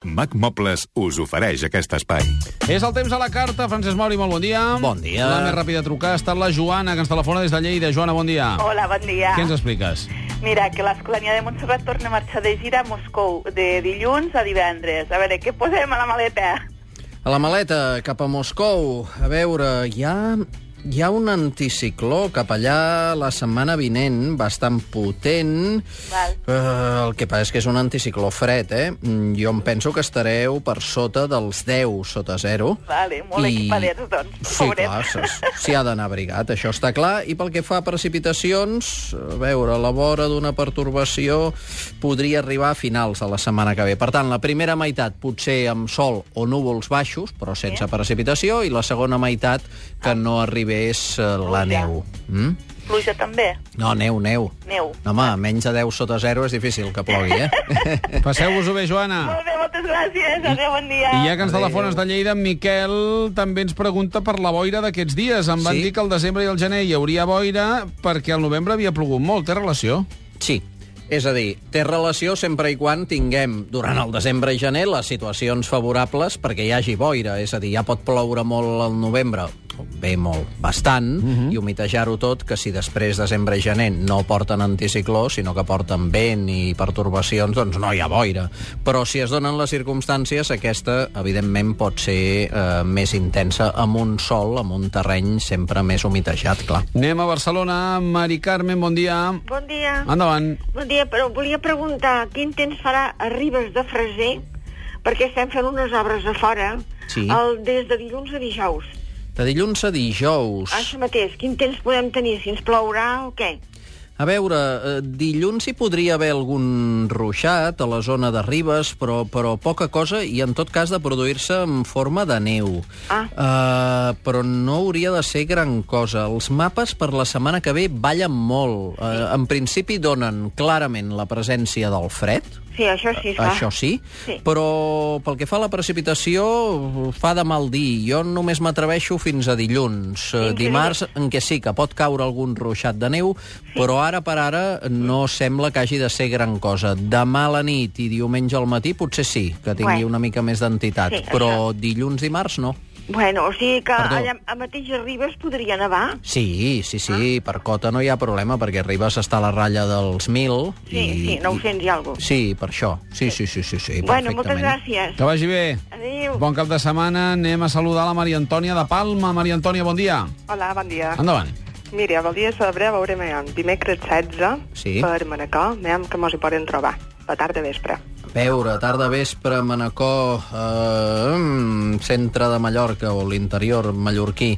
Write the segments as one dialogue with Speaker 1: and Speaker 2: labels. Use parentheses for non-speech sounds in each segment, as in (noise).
Speaker 1: Mac Mobles us ofereix aquest espai.
Speaker 2: És el temps a la carta. Francesc Mauri, molt bon dia.
Speaker 3: Bon dia.
Speaker 2: La més ràpida a trucar ha estat la Joana, que ens telefona des de Lleida. Joana, bon dia.
Speaker 4: Hola, bon dia.
Speaker 2: Què ens expliques?
Speaker 4: Mira, que l'Escolania de Montserrat torna a marxar de gira a Moscou de dilluns a divendres. A veure, què posem a la maleta?
Speaker 3: A la maleta, cap a Moscou. A veure, hi ha, hi ha un anticicló cap allà la setmana vinent, bastant potent.
Speaker 4: Val.
Speaker 3: Eh, el que passa és que és un anticicló fred, eh? Mm, Jo em penso que estareu per sota dels 10, sota 0.
Speaker 4: Vale, molt equipadets, doncs,
Speaker 3: Sí,
Speaker 4: pobrets.
Speaker 3: clar, s'hi- s'hi ha d'anar abrigat, això està clar. I pel que fa a precipitacions, a veure, la vora d'una pertorbació podria arribar a finals de la setmana que ve. Per tant, la primera meitat potser amb sol o núvols baixos, però sense precipitació, i la segona meitat que no arribés eh, la
Speaker 4: Pluja.
Speaker 3: neu. Mm?
Speaker 4: Pluja també?
Speaker 3: No, neu, neu.
Speaker 4: Neu.
Speaker 3: No, home, menys de 10 sota 0 és difícil que plogui, eh?
Speaker 2: Passeu-vos-ho bé,
Speaker 3: Ah.
Speaker 2: Joana.
Speaker 4: Molt bé, moltes gràcies. Adéu, bon dia.
Speaker 2: I ja que ens telefones de Lleida, en Miquel també ens pregunta per la boira d'aquests dies. Em van
Speaker 3: Sí.
Speaker 2: dir que al desembre i al gener hi hauria boira perquè al novembre havia plogut molt. Té relació?
Speaker 3: Sí. És a dir, té relació sempre i quan tinguem durant el desembre i gener les situacions favorables perquè hi hagi boira. És a dir, ja pot ploure molt al novembre, o bé molt, bastant, i humitejar-ho tot, que si després desembre i gener no porten anticicló, sinó que porten vent i pertorbacions, doncs no hi ha boira. Però si es donen les circumstàncies, aquesta, evidentment, pot ser eh, més intensa amb un sol, amb un terreny sempre més humitejat, clar.
Speaker 2: Anem a Barcelona. Mari Carmen, bon dia.
Speaker 5: Bon dia.
Speaker 2: Endavant.
Speaker 5: Bon dia, però volia preguntar quin temps farà a Ribes de Freser, perquè estem fent unes obres a fora
Speaker 3: Sí.
Speaker 5: el, des de dilluns a dijous.
Speaker 3: De dilluns a dijous...
Speaker 5: Això mateix, quin temps podem tenir, si ens plourà o què?
Speaker 3: A veure, eh, dilluns hi podria haver algun ruixat a la zona de Ribes, però, però poca cosa i en tot cas de produir-se en forma de neu. Ah. Uh, però no hauria de ser gran cosa. Els mapes per la setmana que ve ballen molt. Uh, en principi donen clarament la presència del fred,
Speaker 5: Sí, això sí, esclar.
Speaker 3: això sí,
Speaker 5: Sí.
Speaker 3: però pel que fa a la precipitació fa de mal dir. Jo només m'atreveixo fins a dilluns, eh, dimarts, en què sí que pot caure algun ruixat de neu, però ara per ara no sembla que hagi de ser gran cosa. Demà a la nit i diumenge al matí potser sí, que tingui
Speaker 5: Bueno.
Speaker 3: una mica més d'entitat,
Speaker 5: Sí,
Speaker 3: però dilluns, dimarts no.
Speaker 5: Bueno, o sigui que
Speaker 3: Perdó.
Speaker 5: allà, a mateix a Ribes podria nevar.
Speaker 3: Sí, sí, sí,
Speaker 5: Ah.
Speaker 3: per cota no hi ha problema, perquè Ribes està a la ratlla dels 1.000.
Speaker 5: Sí,
Speaker 3: i,
Speaker 5: sí, 900 i alguna cosa.
Speaker 3: Sí, per això. Sí, sí, sí, sí, sí
Speaker 5: Bueno, moltes
Speaker 3: perfectament.
Speaker 5: gràcies.
Speaker 2: Que vagi bé.
Speaker 5: Adéu.
Speaker 2: Bon cap de setmana. Anem a saludar la Maria Antònia de Palma. Maria Antònia, bon dia.
Speaker 6: Hola, bon
Speaker 5: Ah.
Speaker 6: dia.
Speaker 2: Endavant.
Speaker 6: Mira, volia saber, a veure,
Speaker 5: eh,
Speaker 6: mèiem, dimecres 16,
Speaker 3: Sí.
Speaker 6: per Manacor, mèiem que mos hi podem trobar, la tarda vespre.
Speaker 3: A veure, tarda, vespre, Manacor, eh, mm, centre de Mallorca o l'interior mallorquí.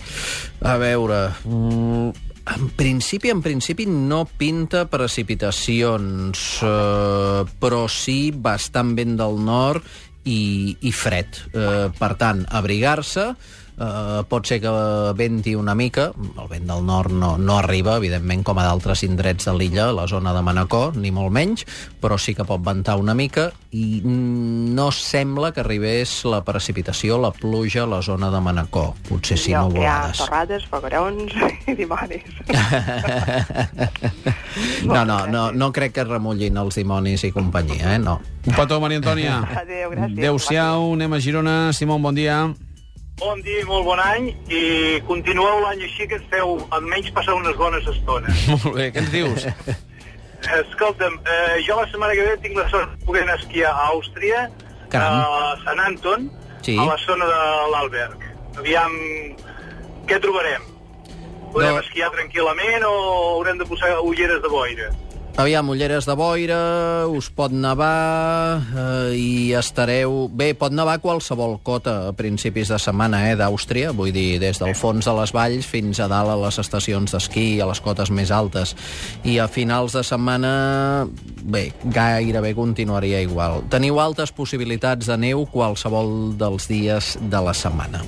Speaker 3: A veure... mm, En principi, en principi no pinta precipitacions, eh, però sí bastant vent del nord i, i fred. Eh, per tant, abrigar-se, eh, pot ser que venti una mica, el vent del nord no, no arriba, evidentment, com a d'altres indrets de l'illa, la zona de Manacor, ni molt menys, però sí que pot ventar una mica i mm, no sembla que arribés la precipitació, la pluja a la zona de Manacor, potser sí
Speaker 6: Jo, que hi ha
Speaker 3: nuvolades.
Speaker 6: torrades, fogarons (laughs) i dimonis.
Speaker 5: Ah,
Speaker 3: No, no, no, no crec que remullin els dimonis i companyia, eh? No.
Speaker 2: Un petó, Maria Antònia.
Speaker 6: Adéu, gràcies.
Speaker 2: Adéu-siau. Anem a Girona. Simon, bon dia.
Speaker 7: Bon dia i molt bon any i continueu l'any així que ens feu almenys passar unes bones estones.
Speaker 2: Molt bé, què ens dius?
Speaker 7: Escolta'm, eh, jo la setmana que ve tinc la sort de poder anar a esquiar a Àustria,
Speaker 3: Caram.
Speaker 7: a Sant Anton,
Speaker 3: Sí.
Speaker 7: a la zona de l'Alberg. Aviam, què trobarem? Podem
Speaker 3: No.
Speaker 7: no. esquiar tranquil·lament o haurem de posar ulleres de boira?
Speaker 3: Aviam, ulleres de boira, us pot nevar eh, i estareu... Bé, pot nevar qualsevol cota a principis de setmana eh, d'Àustria, vull dir, des del fons de les valls fins a dalt a les estacions d'esquí, a les cotes més altes. I a finals de setmana, bé, gairebé continuaria igual. Teniu altes possibilitats de neu qualsevol dels dies de la setmana.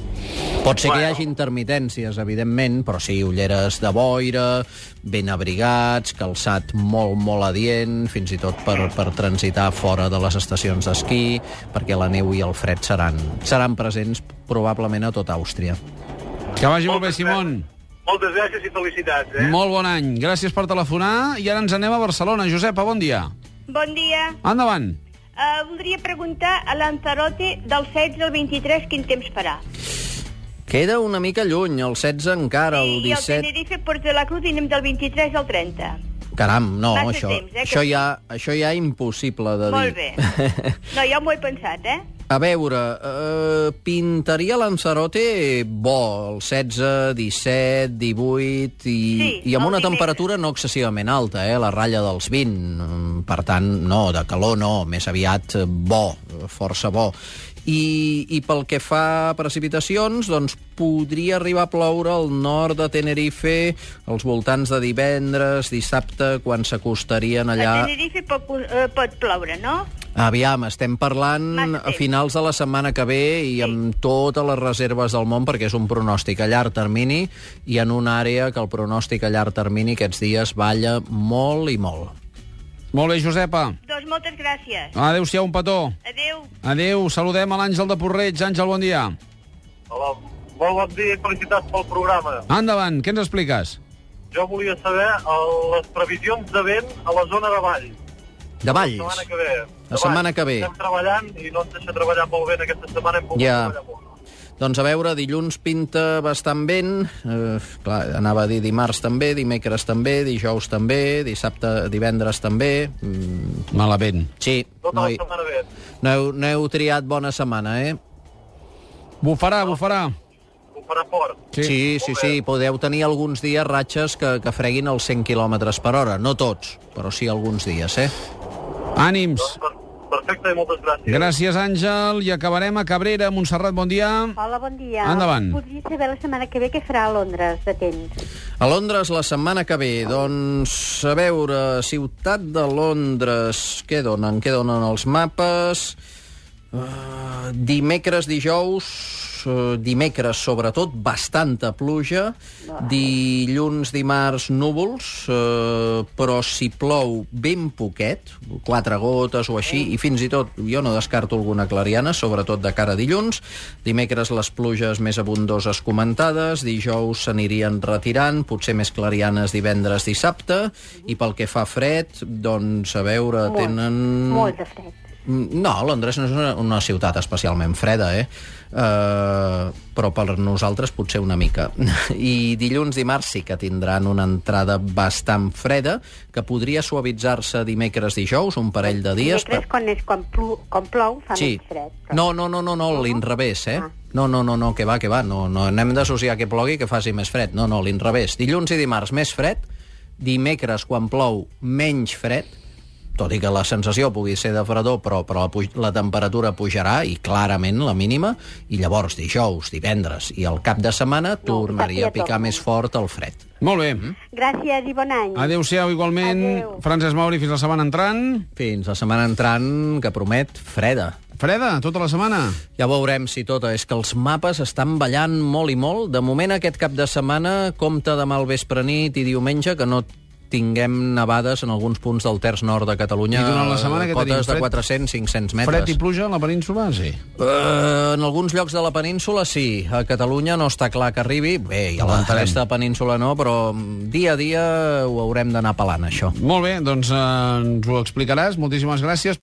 Speaker 3: Pot ser que hi
Speaker 7: Bueno.
Speaker 3: hagi intermitències, evidentment, però sí, ulleres de boira, ben abrigats, calçat molt, molt adient, fins i tot per, per transitar fora de les estacions d'esquí, perquè la neu i el fred seran, seran presents probablement a tota Àustria.
Speaker 2: Que vagi molt bé, Simon.
Speaker 7: Moltes gràcies i felicitats, eh?
Speaker 2: Molt bon any. Gràcies per telefonar. I ara ens anem a Barcelona. Josepa, bon dia.
Speaker 5: Bon dia.
Speaker 2: Endavant.
Speaker 5: Uh, voldria preguntar a Lanzarote del 16 al 23 quin temps farà.
Speaker 3: Queda una mica lluny, el 16 encara, el
Speaker 5: I el
Speaker 3: 17...
Speaker 5: Tenerife Porto de la Cruz i anem del 23 al 30.
Speaker 3: Caram, no,
Speaker 5: Massa
Speaker 3: això,
Speaker 5: temps, eh, que
Speaker 3: això,
Speaker 5: sí.
Speaker 3: ja, això ja impossible de
Speaker 5: Molt
Speaker 3: dir.
Speaker 5: bé.
Speaker 3: (laughs)
Speaker 5: No, ja m'ho he pensat, eh?
Speaker 3: A veure, eh, pintaria Lanzarote bo, el 16, 17, 18 i,
Speaker 5: Sí,
Speaker 3: i amb
Speaker 5: el
Speaker 3: una
Speaker 5: dimecres.
Speaker 3: temperatura no excessivament alta, eh, la ratlla dels 20. Mm, Per tant, no, de calor no, més aviat eh, bo, eh, força bo. I, I pel que fa a precipitacions, doncs podria arribar a ploure al nord de Tenerife als voltants de divendres, dissabte, quan s'acostarien allà...
Speaker 5: A Tenerife pot, eh, pot ploure, no?
Speaker 3: Aviam, estem parlant
Speaker 5: Massa
Speaker 3: a
Speaker 5: temps.
Speaker 3: finals de la setmana que ve i amb totes les reserves del món perquè és un pronòstic a llarg termini i en una àrea que el pronòstic a llarg termini aquests dies balla molt i molt.
Speaker 2: Molt bé, Josepa.
Speaker 5: Doncs moltes gràcies.
Speaker 2: Adéu-siau, un petó.
Speaker 5: Adéu.
Speaker 2: Adéu, saludem a l'Àngel de Porreig. Àngel, bon dia.
Speaker 7: Hola, molt bon dia i felicitats pel programa.
Speaker 2: Endavant, què ens expliques?
Speaker 7: Jo volia saber el, les previsions de vent a la zona de Valls.
Speaker 3: De
Speaker 7: La
Speaker 3: Valls.
Speaker 7: setmana que ve.
Speaker 3: La setmana que ve.
Speaker 7: Estem treballant i no ens deixa treballar molt bé aquesta setmana. Hem pogut
Speaker 3: Ja.
Speaker 7: treballar molt.
Speaker 3: Doncs a veure, dilluns pinta bastant vent, eh, clar, anava a dir dimarts també, dimecres també, dijous també, dissabte, divendres també... Mm,
Speaker 2: Malament.
Speaker 3: sí,
Speaker 7: Tota
Speaker 3: no,
Speaker 7: la
Speaker 3: hi,
Speaker 7: setmana ve.
Speaker 3: no, heu, no heu triat bona setmana, eh?
Speaker 2: Bufarà, bufarà.
Speaker 7: Ho farà fort.
Speaker 3: Sí, sí, sí, podeu tenir alguns dies ratxes que, que freguin els 100 km per hora. No tots, però sí alguns dies, eh?
Speaker 2: Ànims.
Speaker 7: Per, perfecte i moltes gràcies.
Speaker 2: Gràcies, Àngel. I acabarem a Cabrera. Montserrat, bon dia.
Speaker 8: Hola, bon dia.
Speaker 2: Endavant.
Speaker 8: Podria saber la setmana que ve què farà a Londres de temps.
Speaker 3: A Londres la setmana que ve, doncs, a veure, ciutat de Londres, què donen? Què donen els mapes? Uh, dimecres, dijous, uh, dimecres sobretot, bastanta pluja, dilluns, dimarts, núvols, uh, però si plou ben poquet, quatre gotes o així, i fins i tot jo no descarto alguna clariana, sobretot de cara a dilluns, dimecres les pluges més abundoses comentades, dijous s'anirien retirant, potser més clarianes divendres, dissabte, i pel que fa fred, doncs, a veure,
Speaker 8: Molt,
Speaker 3: tenen...
Speaker 8: Molt de fred.
Speaker 3: Mm, No, Londres no és una, una ciutat especialment freda, eh? Uh, però per nosaltres potser una mica. (laughs) I dilluns, dimarts sí que tindran una entrada bastant freda, que podria suavitzar-se dimecres, dijous, un parell de dies.
Speaker 8: Dimecres, quan, és, quan, plu, quan plou, fa
Speaker 3: Sí.
Speaker 8: més fred.
Speaker 3: No, no, no, no, no l'inrevés, eh?
Speaker 8: Ah.
Speaker 3: No, no, no, no, que va, que va. No, no, no hem d'associar que plogui que faci més fred. No, no, l'inrevés. Dilluns i dimarts més fred, dimecres quan plou menys fred, tot i que la sensació pugui ser de fredor, però, però la, puj- la temperatura pujarà, i clarament la mínima, i llavors dijous, divendres i al cap de setmana tornaria a
Speaker 8: patia
Speaker 3: picar
Speaker 8: tot.
Speaker 3: més fort el fred.
Speaker 2: Molt bé.
Speaker 8: Gràcies i bon any.
Speaker 2: Adéu-siau, igualment.
Speaker 8: Adéu.
Speaker 2: Francesc Mauri, fins la setmana entrant.
Speaker 3: Fins la setmana entrant, que promet freda.
Speaker 2: Freda, tota la setmana.
Speaker 3: Ja veurem si tot. És que els mapes estan ballant molt i molt. De moment, aquest cap de setmana, compta demà al vespre nit i diumenge, que no tinguem nevades en alguns punts del terç nord de Catalunya.
Speaker 2: I durant la setmana què tenim?
Speaker 3: Cotes de
Speaker 2: Fred?
Speaker 3: 400-500 metres.
Speaker 2: Fred i pluja a la península, sí.
Speaker 3: Eh, en alguns llocs de la península sí, a Catalunya no està clar que arribi, bé, i a la
Speaker 2: Aguantarem.
Speaker 3: resta de península no, però mm, dia a dia ho haurem d'anar pelant, això.
Speaker 2: Molt bé, doncs eh, ens ho explicaràs. Moltíssimes gràcies.